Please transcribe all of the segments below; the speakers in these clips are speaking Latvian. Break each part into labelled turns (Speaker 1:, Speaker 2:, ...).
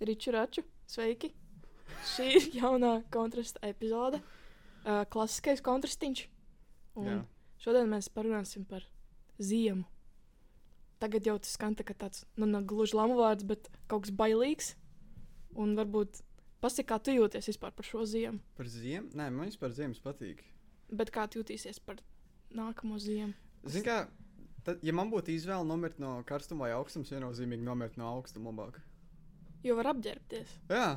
Speaker 1: Riču Raču. Sveiki! Šī ir jaunā kontrasta epizode. Uh, klasiskais kontrastiņš. Un
Speaker 2: Jā.
Speaker 1: šodien mēs parunāsim par ziemu. Tagad jau tas skan tā kā tāds, nu, ne gluži lamu vārds, bet kaut kas bailīgs. Un varbūt pasaka, kā tu jūties vispār par šo ziemu,
Speaker 2: Par ziemu? Nē, man vispār ziemas patīk.
Speaker 1: bet kā tu jūtīsies par nākamo ziemu.
Speaker 2: Zini, kā, tad, ja man būtu izvēle nomirt no karstuma vai augstuma, viennozīmīgi nomirt no augstuma labāk.
Speaker 1: Jo var apģērbties.
Speaker 2: Jā,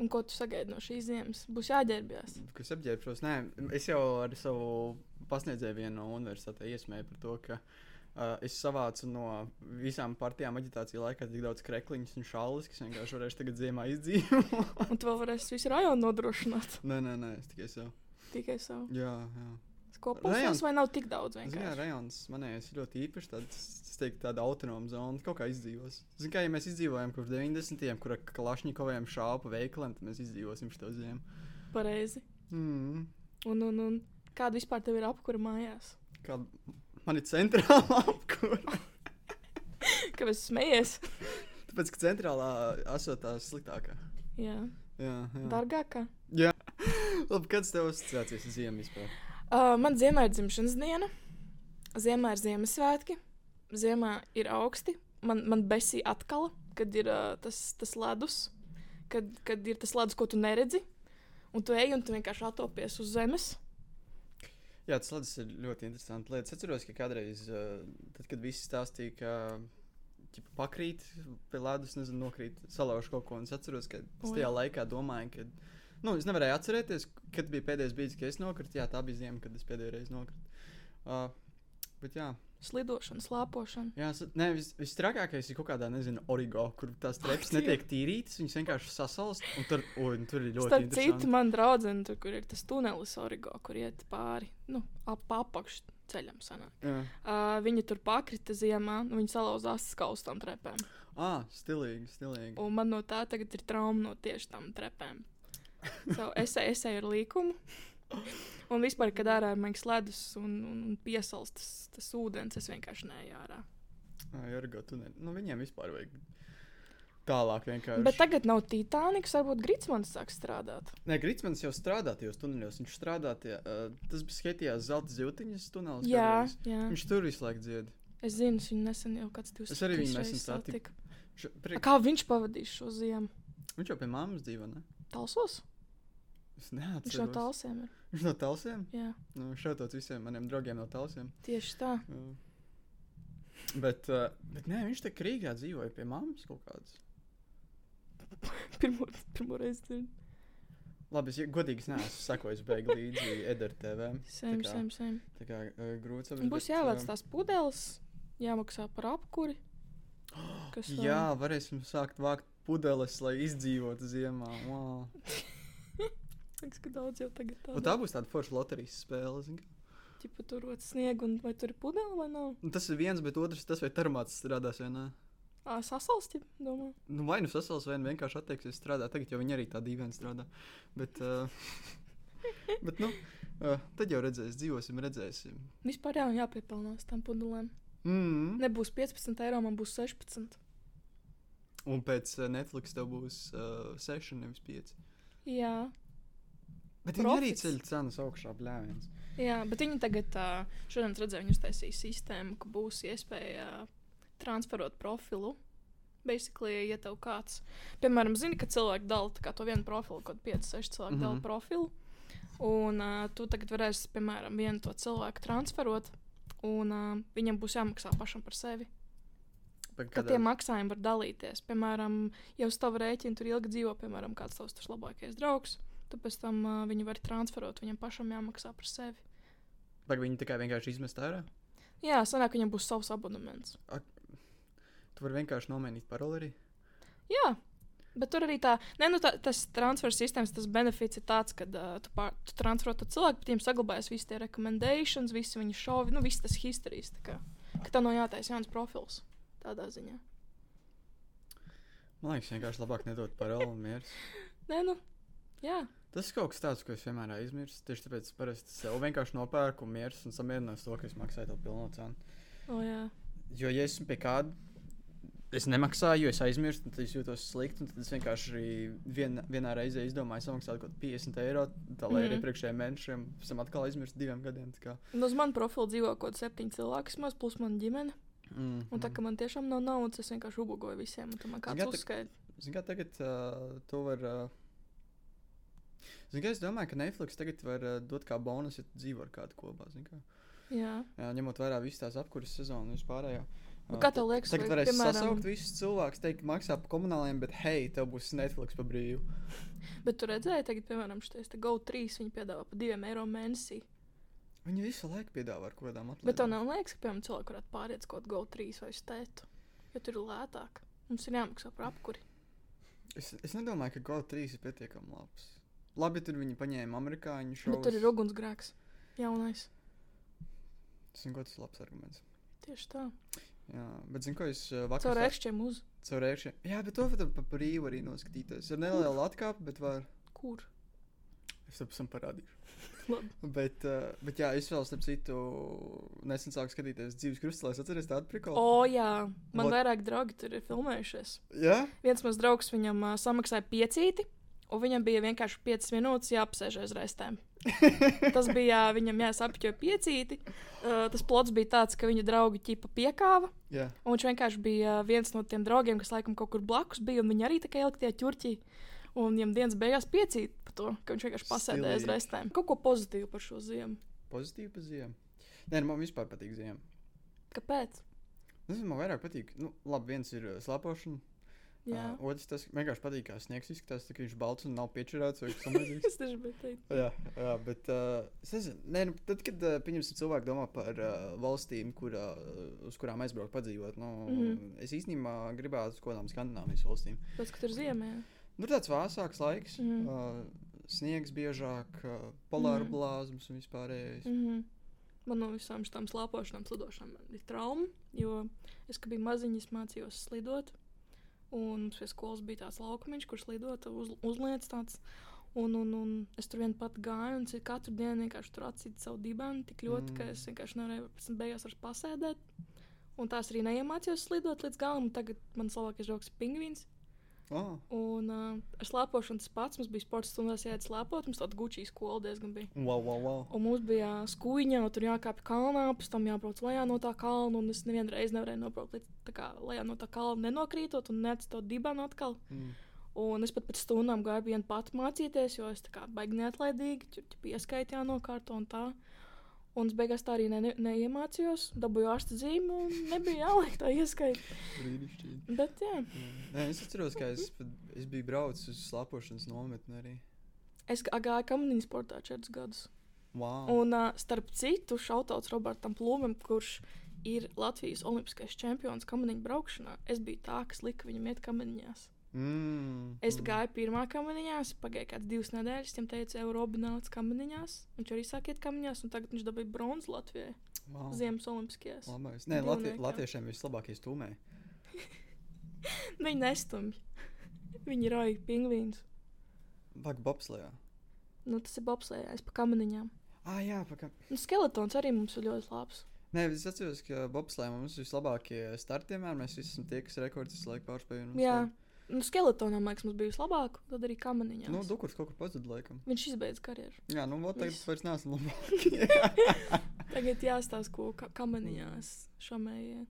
Speaker 1: Un ko tu sagaidi no šīs ziemas? Būs jāģērbjas.
Speaker 2: kas apģērbšos. Nē, es jau ar savu pasniedzēju vienu no universitātē iesmēju par to, ka uh, es savācu no visām partijām aģitācijas laikā tik daudz krekliņus un šālis, kas vienkārši varēšu tagad ziemā izdzīvot.
Speaker 1: Un tu vēl varēsi visu rajonu nodrošināt
Speaker 2: nē, nē, nē, es tikai sev.
Speaker 1: tikai savu.
Speaker 2: Jā, jā.
Speaker 1: Kopums
Speaker 2: Rajons-
Speaker 1: vai nav tik daudz
Speaker 2: Zinām,
Speaker 1: vienkārši?
Speaker 2: rajonā manējais ir ļoti īpašs. Tāds, es teiktu, tāda autonoma zona, kaut kā izdzīvos. Zinām, kā ja mēs izdzīvojām kopš 90. gadsimta, kur ar klašņikoviem šāpa veikaliem, tad mēs izdzīvosim šo ziemu.
Speaker 1: Pareizi.
Speaker 2: Mm.
Speaker 1: Un, un, un kāda vispār tev ir apkūra mājās?
Speaker 2: Kā man ir centrāla apkūra.
Speaker 1: Kāpēc tu smejies?
Speaker 2: Tāpēc, ka centrālā asot tā sliktākā.
Speaker 1: Jā,
Speaker 2: Jā, jā.
Speaker 1: dārgākā.
Speaker 2: Labi, kāds tev asociācijas ar ziemu vispār?
Speaker 1: Uh, man ziemā ir dzimšanas diena, ziemā ir Ziemassvētki, ziemā ir augsti. Man, man besīja atkal, kad ir uh, tas, tas ledus, kad, kad ir tas ledus, ko tu neredzi. Un tu ej un tu vienkārši atopies uz zemes.
Speaker 2: Jā, tas ledus ir ļoti interesants lietas. Es atceros, ka kādreiz, uh, tad, kad visi stāstīja, ka ķipa, pakrīt pie ledus, nezinu, nokrīt, salauž kaut ko. un Es atceros, ka es
Speaker 1: Oi.
Speaker 2: tajā laikā domāju, ka. Nu, es nevarēju atcerēties, kad bija pēdējais brīdis, kad es nokritu. Jā, tā bija ziema, kad es pēdējo reizi nokritu. Uh, bet jā,
Speaker 1: Slidošana, slāpošana.
Speaker 2: jā sa- nē, vis, visstrakākais ir kaut kādā, nezinu, origo, kur tās trepas
Speaker 1: Ak, Diev!
Speaker 2: netiek tīrītas, viņas vienkārši sasalst. Un tur, o, un tur ir ļoti
Speaker 1: Starp citu,
Speaker 2: interesanti.
Speaker 1: man draudzene tur, kur ir tas tunelis origo, kur iet pāri, nu, ap apakšu ceļam sanāk.
Speaker 2: Jā,
Speaker 1: Uh, viņa tur pakrita ziemā, un viņa salauzās skaustām trepēm.
Speaker 2: ah, stilīgi, stilīgi.
Speaker 1: Un man no tā tagad ir trauma no tieši tām trepēm. So, es, es eju ar līkumu. Un vispār, kad ārā ir maigs ledus un, un, un piesals tas, tas ūdens, es vienkārši neju ārā.
Speaker 2: Jurga, tu ne... nu, viņiem vispār vajag tālāk vienkārši.
Speaker 1: Bet tagad nav Titaniks, varbūt Gritsmans sāk strādāt.
Speaker 2: Nē, Grīsmans jau strādā tajos tuneļos. Viņš strādā pie uh, tas bija skaitījās zelta zīmeņas tunelis.
Speaker 1: Jā,
Speaker 2: kādreiz.
Speaker 1: jā.
Speaker 2: Viņš tur visu laiku dzied.
Speaker 1: Es zinu, es viņu nesen jau kāds divas
Speaker 2: Es arī viņu
Speaker 1: trīs
Speaker 2: nesen
Speaker 1: reizes
Speaker 2: satiku. Viņš, prie...
Speaker 1: Kā viņš pavadīs šo ziemu?
Speaker 2: viņš jau pie mammas dzīvo, ne?
Speaker 1: Talsos?
Speaker 2: Es
Speaker 1: Viņš no
Speaker 2: neatceros.
Speaker 1: Talsiem ir.
Speaker 2: Viņš no talsiem?
Speaker 1: Jā,
Speaker 2: Nu, šautot visiem maniem draugiem no talsiem.
Speaker 1: tieši tā.
Speaker 2: Jā. Bet, uh, bet nē, viņš te Krīgā dzīvoja pie mammas kaut kādas.
Speaker 1: Pirmo, pirmo reizi dzirdu.
Speaker 2: Labi, es ja- godīgi es neesmu sekojis beigu līdzi Edera TV.
Speaker 1: Sēm,
Speaker 2: kā-
Speaker 1: sēm, sēm.
Speaker 2: Tā kā uh, grūts
Speaker 1: Un Būs
Speaker 2: eh,
Speaker 1: jāvāc tās pudeles, jāmaksā par apkuri. Kas vēl?
Speaker 2: Jā, varēsim sākt vākt pudeles, lai izdzīvotu ziemā. Wow.
Speaker 1: Liekas, ka daudz jau tagad
Speaker 2: Un
Speaker 1: tādu
Speaker 2: tā būs tāda forša loterijas spēle. zini kā.
Speaker 1: tipu turot sniegu, un vai tur ir pudele vai nav?
Speaker 2: Nu, tas ir viens, bet otrs, tas vai termāts strādās vai nē.
Speaker 1: Ā, sasalsti, domā.
Speaker 2: Nu, vai nu sasals, vai nu vienkārši atteiksies strādāt. Tagad jau viņi arī tā dīvaini strādā. Bet, uh, bet nu, uh, tad jau redzēsim, dzīvosim, redzēsim.
Speaker 1: Vispār jā, jāpiepelnās tam pudelēm.
Speaker 2: Mm.
Speaker 1: Nebūs 15 eiro, man būs 16.
Speaker 2: Un pēc uh, Netflix tev būs uh, 6, nevis 5.
Speaker 1: Jā,
Speaker 2: Bet viņi arī
Speaker 1: Profits.
Speaker 2: ceļ cenas augšā, blēņas.
Speaker 1: jā bet viņi tagad, ā, šodien es redzēju, viņi uztaisīja sistēmu, ka būs iespēja ā, transferot profilu. Basically, ja tev kāds, piemēram, zina, ka cilvēki dala tā kā to vienu profilu, kaut 5, 6 cilvēku mm -hmm. dala
Speaker 2: Mhm.
Speaker 1: profilu, un uh, tu tagad varēsi, piemēram, vienu to cilvēku transferot, un uh, viņam būs jāmaksā pašam par sevi. Kad tie maksājumi var dalīties, piemēram, jau uz tavu rēķinu tur ilgi dzīvo, piemēram, kāds tavs tas labākais draugs, tad pēc tam uh, viņi var transferot, viņam pašam jāmaksā par sevi.
Speaker 2: Vai viņi tikai vienkārši izmest ārā?
Speaker 1: Jā, sanāk, viņam būs savs abonements.
Speaker 2: Tu vari vienkārši nomainīt paroli arī.
Speaker 1: Jā, bet tur arī tā, ne, nu, tā tas transfer sistēmas, tas benefits ir tāds, ka uh, tu, pār, tu transfero to cilvēku, bet viņam saglabājas visas tie rekomendācijas, visi viņa šovi, nu, viss tas histerijas. Tā kā ka tev nav jātaisa jauns profils tādā ziņā.
Speaker 2: Man liekas, vienkārši labāk nedot paroli un mieru.
Speaker 1: Nē, nu, jā,
Speaker 2: Tas ir kaut kas tāds, ko es vienmēr aizmirstu. Tieši tāpēc es parasti sev vienkārši nopērku mieru un samierinos to, ka es maksāju to pilnu cenu.
Speaker 1: o, jā.
Speaker 2: Jo, ja esmu pie kāda Es nemaksāju, jo es aizmirsu, tad es jūtos slikti. un Tad es vienkārši vien, vienā reizē izdomāju samaksāt kaut ko 50 eiro, tā lai mm.
Speaker 1: Mhm.
Speaker 2: iepriekšējiem mēnešiem, pēc tam atkal aizmirsu diviem gadiem. tā Kā,
Speaker 1: Nu, uz manu profilu dzīvo kaut kāds septiņi cilvēki, vismaz, plus mana ģimene.
Speaker 2: mm,
Speaker 1: Un tā kā man tiešām nav naudas, es vienkārši ubagoju visiem. un Tad man kāds
Speaker 2: Zini, kā tā-
Speaker 1: uzskaita.
Speaker 2: Zini, kā tagad uh, to var. Uh, Zini, kā es domāju, ka Netflix tagad var uh, dot kā bonus, ja tu dzīvo ar kādu kopā. zini Kā.
Speaker 1: Jā,
Speaker 2: Jā, ņemot vērā visas tās apkurses sezonu un vispārējo.
Speaker 1: Nu,
Speaker 2: Uh,
Speaker 1: kā tev
Speaker 2: tad-
Speaker 1: liekas,
Speaker 2: Tagad
Speaker 1: vai,
Speaker 2: varēs
Speaker 1: piemēram-
Speaker 2: piemēram... sasaukt visus cilvēkus, teikt, maksā par komunāliem, bet hei, tev būs Netflix pa brīvu.
Speaker 1: bet tu redzēji, tagad, piemēram, šis te GO3 viņi piedāvā par diviem eiro mēnesī.
Speaker 2: Viņi visu laiku piedāvā ar kaut kādām atlaidēm.
Speaker 1: Bet tev nav liekas, ka, piemēram, cilvēki varētu pāriet uz kaut ko GO3 vai stētu, jo tur ir lētāk. Mums ir jāmaksā par apkuri.
Speaker 2: Es, es nedomāju, ka GOT 3 ir pietiekami labs. Labi, tur viņi paņēma amerikāņu šo.
Speaker 1: Bet tur ir ugunsgrēks. Jaunais.
Speaker 2: Tas ir tas labs arguments.
Speaker 1: Tieši tā.
Speaker 2: Jā, bet zinu, ko es uh, vakar
Speaker 1: Caur ērkšķiem uz.
Speaker 2: sa- Caur ērkšķiem. Jā, bet to var pa brīvu arī noskatīties. Ir neliela atkāpe, bet var.
Speaker 1: Kur?
Speaker 2: Es tam pēc tam parādīšu.
Speaker 1: Labi.
Speaker 2: Bet, uh, bet jā, es vēl starp citu nesen sāku skatīties dzīves krustelēs. Atceries tādu prikolu?
Speaker 1: O, jā. Man
Speaker 2: Vot.
Speaker 1: What? vairāk draugi tur ir filmējušies.
Speaker 2: Jā?
Speaker 1: viens mans draugs viņam uh, samaksāja piecīti, un viņam bija vienkārši 5 minūtes jāapsēž aiz restēm. tas bija uh, viņam jāsapķo piecīti. Uh, tas plots bija tāds, ka viņa draugi ķipa piekāva.
Speaker 2: Jā.
Speaker 1: Un viņš vienkārši bija uh, viens no tiem draugiem, kas laikam kaut kur blakus bija, un viņi arī tā kā ielika tajā ķurķī. Un viņam dienas beigās piecīt par to, ka viņš vienkārši pasēdēja aiz
Speaker 2: Stilīgi.
Speaker 1: restēm. Kaut ko pozitīvu par šo ziemu.
Speaker 2: Pozitīvi pa ziemu. Nē, nu, man vispār patīk ziema.
Speaker 1: Kāpēc?
Speaker 2: Nezinu, man vairāk patīk. Nu, labi, viens ir uh, slēpošana.
Speaker 1: Jā,
Speaker 2: Uh, otrs, tas vienkārši patīk, kā sniegs izskatās, tā, ka viņš balts un nav piečurēts vai kas tamlīdzīgs.
Speaker 1: tas taču bija teikt.
Speaker 2: jā, jā, bet uh, es nezinu, nē, nu, tad, kad uh, pieņemsim, cilvēki domā par uh, valstīm, kur, uh, uz kurām aizbraukt, padzīvot, nu,
Speaker 1: Mhm.
Speaker 2: es īstenībā gribētu uz kaut kādām Skandināvijas valstīm.
Speaker 1: Pēc, ka tur ziemē.
Speaker 2: Nu, tāds vāsāks laiks,
Speaker 1: Mhm.
Speaker 2: uh, sniegs biežāk, uh, polāra
Speaker 1: Mhm.
Speaker 2: blāzmas un vispārējais.
Speaker 1: Mhm. Man no visām šīm slāpošanām, slidošanām man ir trauma. Jo es, kad biju maziņš, mācījos slidot. Un mums pie skolas bija tāds laukums, kurš slidot uz, uzliekas tāds. Un, un, un es tur vien pat gāju, un cik katru dienu vienkārši tur atsīju savu dibenu tik ļoti, mm. ka
Speaker 2: Mm.
Speaker 1: es vienkārši nevarēju pēc tam beigās vairs pasēdēt. Un tās arī neiemācījos slidot līdz galam. un Tagad mans labākais draugs ir pingvīns.
Speaker 2: Oh.
Speaker 1: Un uh, ar slēpošanu tas pats. Mums bija sports stundās jāiet slēpot. Mums tāda gučī skola diezgan bija.
Speaker 2: Wow, wow, wow.
Speaker 1: Un mums bija skūņa, un tur jākāpj kalnā, pēc tam jābrauc lejā no tā kalna. Un es nevienu reizi nevarēju nobraukt līdz tā kā lejā no tā kalna, nenokrītot un neatstot dibanu atkal.
Speaker 2: Mm.
Speaker 1: Un es pat pēc stundām gāju vienu pati mācīties, jo es tā kā baigi neatlaidīgi, tur tur pieskaitījā nokārto un tā. Un es beigās tā arī ne, ne, neiemācījos, dabūju ārsta zīmi un nebija jāliek tā ieskaita.
Speaker 2: Brīnišķīgi.
Speaker 1: Bet, jā,
Speaker 2: Nē, es atceros, ka
Speaker 1: Mhm.
Speaker 2: es, pat- es biju braucis uz slēpošanas nometni arī.
Speaker 1: es gā- gāju kamaniņu sportā četrus gadus.
Speaker 2: Wow.
Speaker 1: Un uh, starp citu, šautauts Robertam Plūmam, kurš ir Latvijas olimpiskais čempions kamaniņu braukšanā. Es biju tā, kas lika viņam iet kamaniņās.
Speaker 2: Mm,
Speaker 1: Es
Speaker 2: mm.
Speaker 1: gāju pirmā kamaniņās, pagāja kāds divas nedēļas, viņam teica, Eiropa nāca kamaniņās. Viņš arī sāk iet kamaniņās, un tagad viņš dabūja bronzu Latvijai
Speaker 2: Wow.
Speaker 1: Ziemas olimpiskajās.
Speaker 2: Labais. Nē, Latvie,
Speaker 1: Divniekā.
Speaker 2: latviešiem vislabākie stūmēji.
Speaker 1: Viņi nestumj. Viņi rauj pingvīnus.
Speaker 2: Vak, bobslējā.
Speaker 1: Nu, tas ir bobslējais pa kamaniņām.
Speaker 2: Ah, jā, pakā.
Speaker 1: Nu, skeletons arī mums ir ļoti labs.
Speaker 2: Nē, es atceros, ka bobslējā mums vislabākie starti vienmēr. Mēs visi esam tie, kas rekordus visu laiku pārspēj. un
Speaker 1: Jā.
Speaker 2: uzvar.
Speaker 1: Nu, skeletonam, liekas, mums bija vislabāk, tad arī kamaniņā.
Speaker 2: Nu, Dukurs kaut kur pazuda laikam.
Speaker 1: Viņš izbeidz karjeru.
Speaker 2: Jā, nu, vot tagad
Speaker 1: Viss.
Speaker 2: vairs neesam labāki.
Speaker 1: Tagad jāstāsta, ko ka kamaniņās šamēja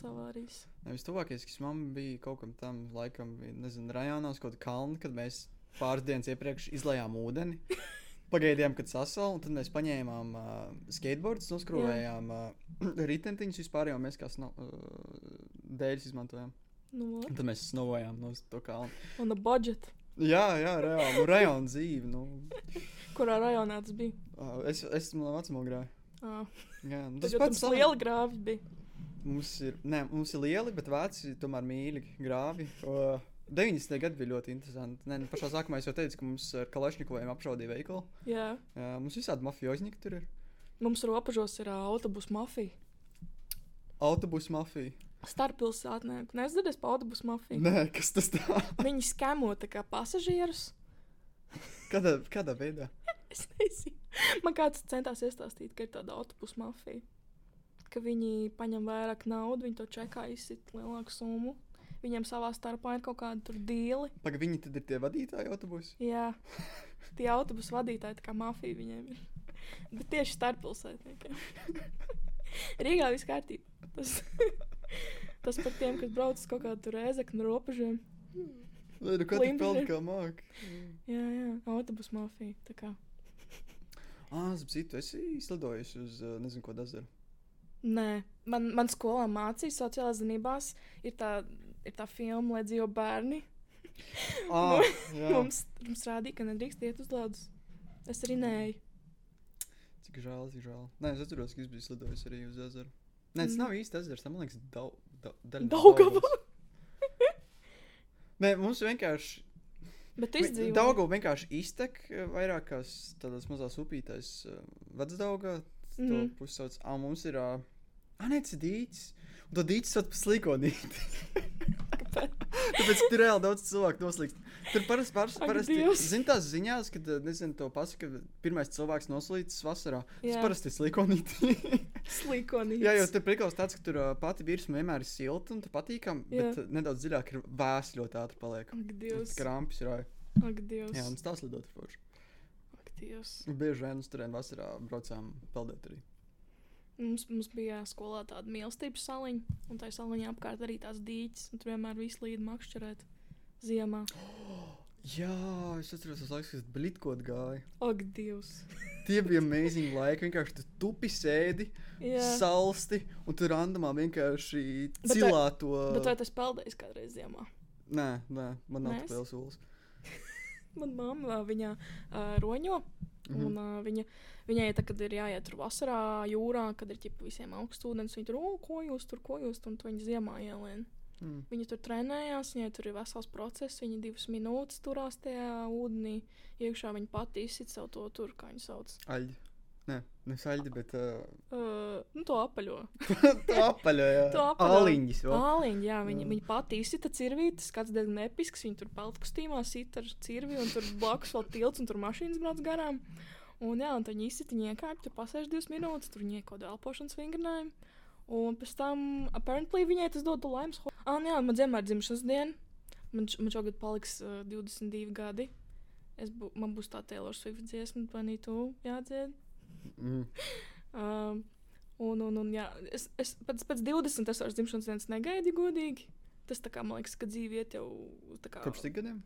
Speaker 1: savārīs.
Speaker 2: Nevis tuvākais, kas man bija kaut kam tam laikam, bija, nezinu, rajonos kaut kāda kalna, kad mēs pāris dienas iepriekš izlējām ūdeni. Pagaidījām, kad sasaucām, un tad mēs paņēmām uh, skateboardus, noskrūvējām uh, ritentiņus vispār, jo mēs kā sno, uh, dēļus izmantojām.
Speaker 1: Nu,
Speaker 2: Un tad mēs snovējām no to kalnu.
Speaker 1: un budžets,
Speaker 2: Jā, jā, reāli. Nu, rajona dzīve. Nu,
Speaker 1: kurā rajonā tas bija.
Speaker 2: uh, es esmu vecumā grāmatā.
Speaker 1: Ā,
Speaker 2: Jā, nu, tas
Speaker 1: Tagad
Speaker 2: pats
Speaker 1: mums liela grāvja bija.
Speaker 2: Mums ir, nē, mums ir lieli, bet veci, tomēr mīļi grāvi. O, 90. gadi bija ļoti interesanti. Nē, nu, pašā sākumā es jau teicu, ka mums ar kalašņikoviem apšaudīja veikalu.
Speaker 1: Jā.
Speaker 2: Jā, mums visādi mafioznieki tur ir.
Speaker 1: Mums robežos ir ā, autobusu mafija.
Speaker 2: Autobusu mafija.
Speaker 1: Starppilsētnē. Nezinies pa autobusu mafiju.
Speaker 2: Nē, kas tas tā?
Speaker 1: Viņi skemo tā kā pasažierus.
Speaker 2: Kādā, kādā veidā?
Speaker 1: Es nezinu. Man kāds centās iestāstīt, ka ir tāda autobusu mafija. Ka viņi paņem vairāk naudas, viņi to čekā izsit lielāku summu. Viņiem savā starpā ir kaut kāda tur dīli.
Speaker 2: Pagaidām, viņi tad ir tie vadītāji autobusu.
Speaker 1: Jā, tie autobusu vadītāji, tā kā mafija viņiem ir. Bet tieši starppilsētniekiem. Rīgā viss kārtībā. Tas, tas par tiem, kas brauc uz kaut kādu tur ēzeknu robežiem.
Speaker 2: Lai nu kāds
Speaker 1: Klimperi.
Speaker 2: pelna kā māk.
Speaker 1: Jā, jā, autobusu mafija. tā kā.
Speaker 2: Ah, zinu, es izlidojos uz uh, nezinu, ko dazaru.
Speaker 1: Nē, man, man skolā mācīja, sociālās zinībās ir tā, ir tā filma, lai dzīvo bērni.
Speaker 2: Ah, jā.
Speaker 1: Mums, mums rādīja, ka nedrīkst iet uz ledus. Es arī nēju.
Speaker 2: Cik žēl, cik žēl. Nē, es atceros, ka es biju slidojis arī uz ezeru. Nē, tas
Speaker 1: Mhm.
Speaker 2: nav īsti ezers, tam man liekas, dau- da- daļa no
Speaker 1: Daugava.
Speaker 2: Daugavas. Nē, mums vienkārši.
Speaker 1: Bet tu izdzīvo.
Speaker 2: Daudzā vienkārši iztek eh, vairākās tādās mazās upītēs. eh, Vecdaugā to
Speaker 1: Mhm.
Speaker 2: mm. pussauc. Ah, mums ir. Ah, nē, tas ir dīķis. Un to dīķis sauc par slikonīti. Tāpēc tur reāli daudz cilvēku noslīd. Tur parasti, parasti,
Speaker 1: Ak,
Speaker 2: parasti
Speaker 1: Dievs.
Speaker 2: zin tās ziņās, kad, eh, nezinu, to pasaka, ka pirmais cilvēks noslīdis vasarā. Tas
Speaker 1: Jā.
Speaker 2: parasti ir slikonīti.
Speaker 1: Slikonīgs.
Speaker 2: Jā, jau tur priekšā tāds, ka tur uh, pati virsma vienmēr ir silta un tā patīkama,
Speaker 1: Jā.
Speaker 2: bet uh, nedaudz dziļāk ir vēsts ļoti ātri paliek.
Speaker 1: Ak, Dievs.
Speaker 2: Krampis ir. oj.
Speaker 1: Ak, Dievs.
Speaker 2: Jā, mums tās lidot forši.
Speaker 1: Ak, Dievs.
Speaker 2: Un Bieži vien uz turieni vasarā braucām peldēt arī.
Speaker 1: Mums, mums bija skolā tāda mīlestības saliņa, un tajā saliņā apkārt arī tās dīķis, un tur vienmēr viss līd makšķerēt ziemā.
Speaker 2: Jā, es atceros, tas laiks, kad blitkot gāja.
Speaker 1: Ak, Dievs.
Speaker 2: Tie bija amazing laiki. Vienkārši tu tupi sēdi,
Speaker 1: Jā.
Speaker 2: Jā. salsti un tur randamā vienkārši
Speaker 1: Bet vai-
Speaker 2: cilā to.
Speaker 1: Bet vai tas peldējis kādreiz ziemā?
Speaker 2: Nē, nē, man nav
Speaker 1: Nē, es-
Speaker 2: tik liels solis.
Speaker 1: Manā mamā viņa uh, roņo.
Speaker 2: Mhm.
Speaker 1: Mm. Un, uh, viņa, viņai, tā, kad ir jāiet tur vasarā, jūrā, kad ir ģipa visiem augstūdens, viņa tur, oh, ko jūs tur, ko jūs tur, un tu viņa ziemā ielien.
Speaker 2: Mm.
Speaker 1: Viņa tur trenējās, viņai tur ir vesels process, viņa divas minūtes turās tajā ūdenī. Iekšā viņa pati izsit savu to tur, kā viņa sauc.
Speaker 2: Aļģi. Nē, nevis aļģi, bet uh,
Speaker 1: Uh, nu, to apaļo.
Speaker 2: to apaļojā.
Speaker 1: To apaļo.
Speaker 2: Aliņģis vēl.
Speaker 1: Āliņa, jā, viņa,
Speaker 2: Jā.
Speaker 1: viņa pati izsita cirvīti, skats diezgan episks, viņa tur peltkustībā sit ar cirvi, un tur blakus vēl tilts, un tur mašīnas brauc garām. Un jā, un tad viņi izsita niekāpju, tur pasēž divas minūtes, tur niekoda elpošanas vingrinājumu. Un pēc tam, apparently, viņai tas dotu laimes. ho- Ā, nē, man dzemdē dzimšanas diena. Man, š- man šogad paliks uh, 22 gadi. Es bū, man būs tā Taylor Swift dziesma, vai ne tu jādzied?
Speaker 2: Mm.
Speaker 1: Um, un, un, un jā, es, es pēc, pēc 20. es vairs dzimšanas dienas negaidu, godīgi. Tas tā kā man liekas, ka dzīve iet jau tā kā,
Speaker 2: Kopš cik gadiem?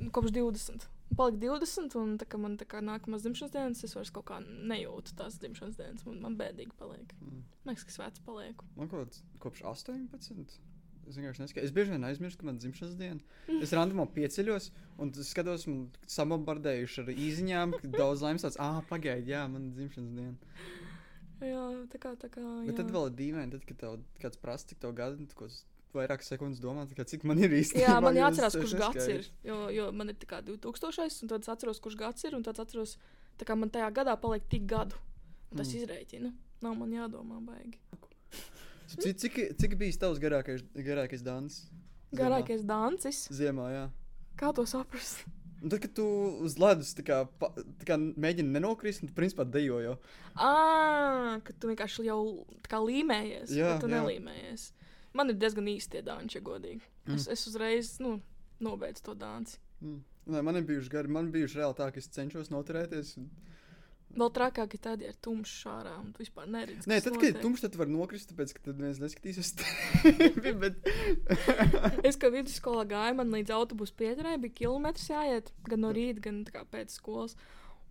Speaker 1: Nu, kopš 20. Un Palika 20, un tā kā man tā kā nākamās dzimšanas dienas, es vairs kaut kā nejūtu tās dzimšanas dienas. Man, man bēdīgi paliek.
Speaker 2: Mm.
Speaker 1: Man liekas, ka es vecs palieku.
Speaker 2: Man kaut kāds kopš 18. Es vienkārši neskaidroju. Es bieži vien aizmirstu, ka man ir dzimšanas diena. Es randomā pieceļos un t- skatos, man samabombardējuši ar īziņām. ka Daudz laimes tāds, ah, pagaidi, jā, man ir dzimšanas diena.
Speaker 1: Jā, tā kā. Tā kā
Speaker 2: Bet
Speaker 1: jā.
Speaker 2: tad vēl ir dīvaini, tad, kad tev kāds prasa, cik tev gadi, tu kaut kāds vairākas sekundes domā, tā kā, cik man ir īstenībā.
Speaker 1: Jā, man
Speaker 2: jo es
Speaker 1: jāatcerās,
Speaker 2: sev
Speaker 1: kurš gads ir.
Speaker 2: neskaidroju.
Speaker 1: Jo, jo man ir tā kā 2000, un tad es atceros, kurš gads ir. Un tad es atceros, tā kā man tajā gadā paliek tik gadu. Un tas
Speaker 2: Mm.
Speaker 1: mm. izreikina. Nav man jādomā baigi.
Speaker 2: Cik, cik, cik bijis tavs garākais, garākais dans?
Speaker 1: Garākais dancis.
Speaker 2: Ziemā, jā.
Speaker 1: Kā to saprast?
Speaker 2: Un tad, kad tu uz ledus tā kā, pa- tā kā mēģini nenokrist, un tu principā dejo jau.
Speaker 1: Ah, ka tu vienkārši jau tā kā līmējies,
Speaker 2: Jā,
Speaker 1: jā, bet tu
Speaker 2: jā.
Speaker 1: nelīmējies. Man ir diezgan īsti tie dāņi, ja godīgi. Mm. Es, es uzreiz nu, nobeidzu to dānci.
Speaker 2: Mm. Nē, man ir bijuši gari. Man bija reāli tā, ka es cenšos noturēties. un-
Speaker 1: Vēl trakāk ir tad, ja ir tumšs šārā un tu vispār neredzi.
Speaker 2: Nē,
Speaker 1: kas
Speaker 2: tad, kad ir
Speaker 1: notiek.
Speaker 2: tumšs, tad var nokrist, tāpēc ka tad viens neskatīsies uz tevi. Bet
Speaker 1: Es kā vidusskolā gāju, man līdz autobusu pieturai bija kilometrs jāiet, gan no rīta, gan tā kā pēc skolas.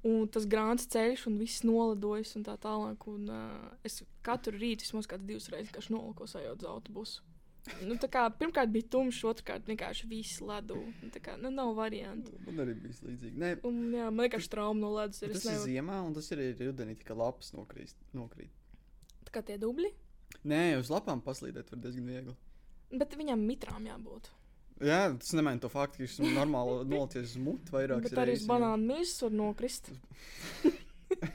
Speaker 1: Un tas grāmatas ceļš, un viss nolidojas, un tā tālāk. Un, uh, es katru rītu vismaz kādas divas reizes vienkārši noliku sajūtu uz autobusu. Nu, tā kā, pirmkārt bija tumšs, otrkārt vienkārši viss ledu. Un Tā kā nu, nav variantu.
Speaker 2: man arī bija līdzīgi. Nē,
Speaker 1: Un, jā, man vienkārši trauma no ledus ir. Es
Speaker 2: tas ir
Speaker 1: nevaru.
Speaker 2: ziemā, un tas arī ir rudenī, kad lapas nokrīt. nokrīt.
Speaker 1: Tā kā tie dubļi,
Speaker 2: Nē, uz lapām paslīdēt var diezgan viegli.
Speaker 1: bet viņam mitrām jābūt.
Speaker 2: Jā, tas nemaina to faktu, ka es esmu normāli nolicies uz mutu vairākas
Speaker 1: Bet arī uz
Speaker 2: reizes.
Speaker 1: banānu mīzes var nokrist.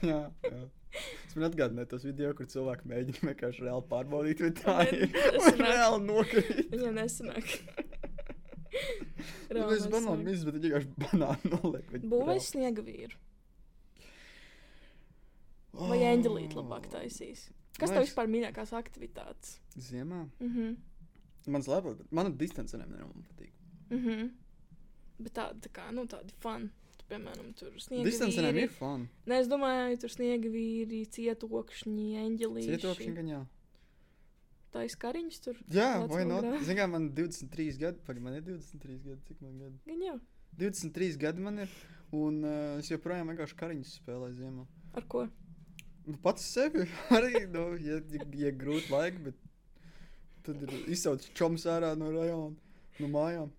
Speaker 2: jā, jā. Tas man atgādināja tos video, kur cilvēki mēģina vienkārši reāli pārbaudīt, vai tā
Speaker 1: Bet
Speaker 2: ir.
Speaker 1: es
Speaker 2: Un
Speaker 1: nevaru.
Speaker 2: Reāli nokrīt.
Speaker 1: Viņam nesanāk.
Speaker 2: Reāli es Nu, banānu
Speaker 1: nesanāk.
Speaker 2: mīsu, bet viņi vienkārši banānu noliek. viņi
Speaker 1: Būvēs sniega vīru
Speaker 2: reāli-
Speaker 1: vai
Speaker 2: Oh.
Speaker 1: eņģelīti labāk taisīs. Kas
Speaker 2: Man
Speaker 1: tev
Speaker 2: liekas-
Speaker 1: vispār mīļākās aktivitātes?
Speaker 2: Ziemā.
Speaker 1: Mhm.
Speaker 2: Mans labāk, bet mana distancēm man patīk.
Speaker 1: Mm -hmm. Bet tā, tā kā, nu, tādi fani. Tu, piemēram, tur sniega
Speaker 2: Distancēm
Speaker 1: vīri.
Speaker 2: ir fun.
Speaker 1: Nē, es domāju, tur sniega vīri, cietokšņi, eņģelīši.
Speaker 2: Cietokšņi gan jā.
Speaker 1: Tā ir skariņš tur.
Speaker 2: Jā,
Speaker 1: Kāds
Speaker 2: vai not?
Speaker 1: nogrāv?
Speaker 2: Zinām, man 23 gadi, pagaid, man ir 23 gadi, cik man gadi.
Speaker 1: Gan jau.
Speaker 2: 23 gadi man ir, un uh, es joprojām vienkārši kariņus spēlēju ziemā.
Speaker 1: Ar ko?
Speaker 2: Nu, pats sevi arī, nu, ja, ja, ja grūti laika, bet tad ir izsauc čoms ārā no rajona, no mājām.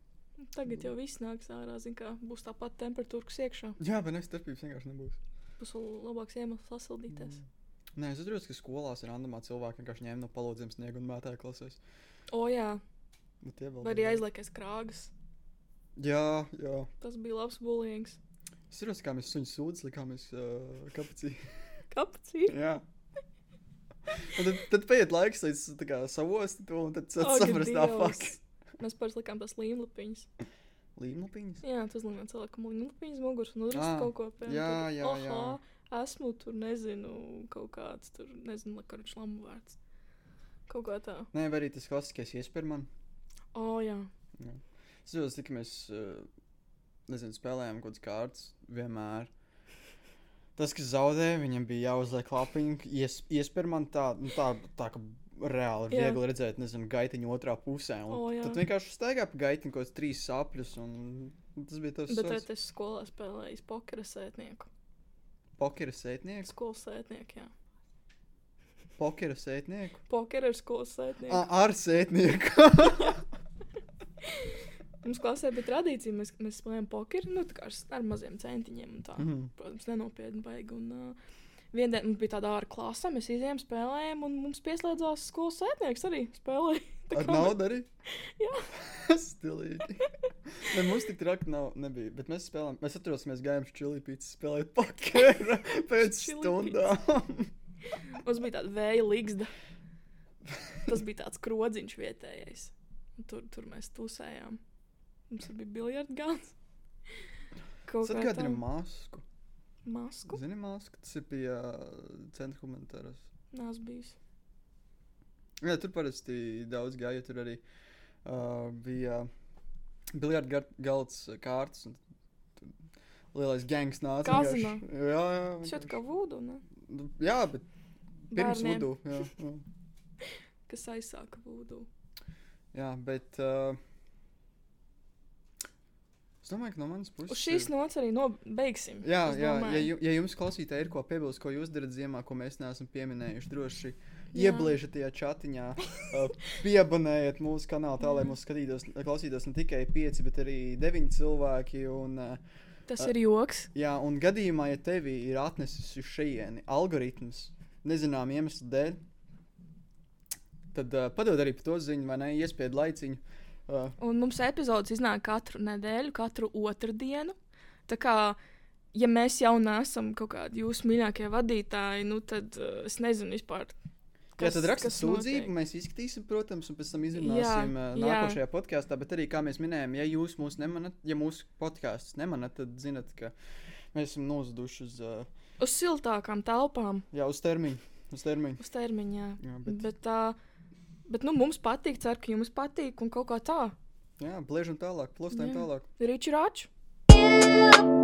Speaker 1: Tagad jau viss nāks ārā, zin kā būs tā pati temperatūra, kas iekšā.
Speaker 2: Jā, bet nevis starpības vienkārši nebūs.
Speaker 1: Būs vēl labāks iemesls sasildīties.
Speaker 2: Mm. Nē, es saprotu, ka skolās ir randomā cilvēki vienkārši ņēma no palodziem sniegu un mētāja klasēs.
Speaker 1: O, jā,
Speaker 2: Nu, tie vēl
Speaker 1: vai arī
Speaker 2: bija.
Speaker 1: aizliekais krāgas.
Speaker 2: Jā, jā.
Speaker 1: Tas bija labs bulījums.
Speaker 2: Es saprotu, kā mēs suņus sūdzam, likāmies uh, kapacī.
Speaker 1: Kāpēc?
Speaker 2: jā. Un tad, tad paiet laiks, līdz tā kā savosti to, un tad
Speaker 1: Ak,
Speaker 2: saprast tā
Speaker 1: Dievs.
Speaker 2: fuck.
Speaker 1: Mēs parasti likām tās līmlapiņas.
Speaker 2: Līmlapiņas?
Speaker 1: Jā, tas liekam cilvēkam līmlapiņas muguras un uzrakst
Speaker 2: Ā,
Speaker 1: kaut ko pēc.
Speaker 2: Ah, jā, jā, jā.
Speaker 1: Esmu tur, nezinu, kaut kāds tur, nezinu, lakarčs lamu vārds. Kaut kā tā.
Speaker 2: Nē, vai arī tas klasiskais iespēja man.
Speaker 1: O, jā.
Speaker 2: Es saprotu, cik mēs, uh, nezinu, spēlējām kaut kādas kārtas vienmēr. Tas, kas zaudēja, viņam bija jāuzliek lapiņa, ies, iespēja man tā, nu, tā, tā ka reāli ir
Speaker 1: Jā.
Speaker 2: viegli redzēt, nezinu, gaitiņu otrā pusē. Un
Speaker 1: O, jā.
Speaker 2: tad vienkārši staigā pa gaitiņu kaut kāds trīs sapļus, un tas bija tas
Speaker 1: Bet
Speaker 2: pats
Speaker 1: tad es skolā spēlēju pokera sētnieku.
Speaker 2: pokera sētnieks.
Speaker 1: Skolas sētnieku, jā.
Speaker 2: Pokera sētnieku.
Speaker 1: Pokera ir skolas sētnieku.
Speaker 2: A, ar sētnieku.
Speaker 1: Mums klasē bija tradīcija, mēs, mēs spēlējām pokeru nu, tā kā ar s- ar maziem centiņiem. un Tā, mm.
Speaker 2: Mhm.
Speaker 1: Protams, nenopietni baigi. Un, uh, Vienu dienu mums bija tāda ārā klase, mēs izējām, spēlējām, un mums pieslēdzās skolas sētnieks arī spēlēja. Tā
Speaker 2: Ar
Speaker 1: kā mēs-
Speaker 2: naudu arī?
Speaker 1: Jā.
Speaker 2: Stilīgi. Ne, mums tik traki nav, nebija, bet mēs spēlējām, mēs atceros, mēs gājām čili pīcis spēlēt pokeru pēc
Speaker 1: Chili
Speaker 2: stundām.
Speaker 1: Mums bija tāda vēja līgsta. Tas bija tāds krodziņš vietējais. Un Tur, tur mēs tusējām. Mums tur bija biljards gāns. Kaut kā
Speaker 2: Atgādini
Speaker 1: tāda
Speaker 2: masku.
Speaker 1: masku
Speaker 2: Zini masku, tas ir pie ā, centra humanitāras.
Speaker 1: nāc bijis.
Speaker 2: Jā, tur parasti daudz gāja, tur arī uh, bija biljardu galds ā, kārtas un tur lielais gangs nāca.
Speaker 1: Kazino.
Speaker 2: vienkārši- Jā, jā.
Speaker 1: Tas jau tā
Speaker 2: vienkārši.
Speaker 1: kā vūdu, ne?
Speaker 2: Nu, Jā, bet pirms
Speaker 1: Bērniem,
Speaker 2: vudu. Jā, jā.
Speaker 1: kas aizsāka vūdu.
Speaker 2: jā, bet. Uh, es domāju, ka no manas puses.
Speaker 1: Uz šīs
Speaker 2: ir-
Speaker 1: nots arī nobeigsim.
Speaker 2: Jā, jā ja, ju, ja jums klausītāji ir ko piebilst, ko jūs darat ziemā, ko mēs neesam pieminējuši, droši
Speaker 1: Jā.
Speaker 2: iebliežat tajā chatiņā, uh, pieabonējiet mūsu kanālu, tā lai
Speaker 1: Jā.
Speaker 2: mūsu skatītos, klausītos ne tikai pieci, bet arī deviņi cilvēki. Un, uh,
Speaker 1: Tas ir joks.
Speaker 2: Jā, un gadījumā, ja tevi ir atnesis uz šejieni algoritms, nezinām iemeslu dēļ, tad uh, padod arī par to ziņu, vai ne? Iespēju laiciņu. Uh,
Speaker 1: Un mums epizodes iznāk katru nedēļu, katru otrdienu. Tā kā, ja mēs jau neesam kaut kādi jūsu mīļākie vadītāji, nu tad uh, es nezinu vispār.
Speaker 2: jā, tad rakstiet
Speaker 1: kas
Speaker 2: sūdzību,
Speaker 1: notiek.
Speaker 2: mēs izskatīsim, protams, un pēc tam izrunāsim uh,
Speaker 1: jā.
Speaker 2: nākošajā podkāstā. Bet arī, kā mēs minējām, ja jūs mūs nemanat, ja mūsu podkāsts nemanat, tad zinat, ka mēs esam nozuduši uz, uh,
Speaker 1: Uz siltākām telpām,
Speaker 2: jā, uz termiņu. Uz termiņu.
Speaker 1: uz termiņā.
Speaker 2: Jā, bet,
Speaker 1: Bet, uh, bet nu, mums patīk, ceru, ka jums patīk un kaut kā tā.
Speaker 2: jā blēžam tālāk, plostēm
Speaker 1: Jā.
Speaker 2: tālāk.
Speaker 1: Ričards!
Speaker 3: Get up,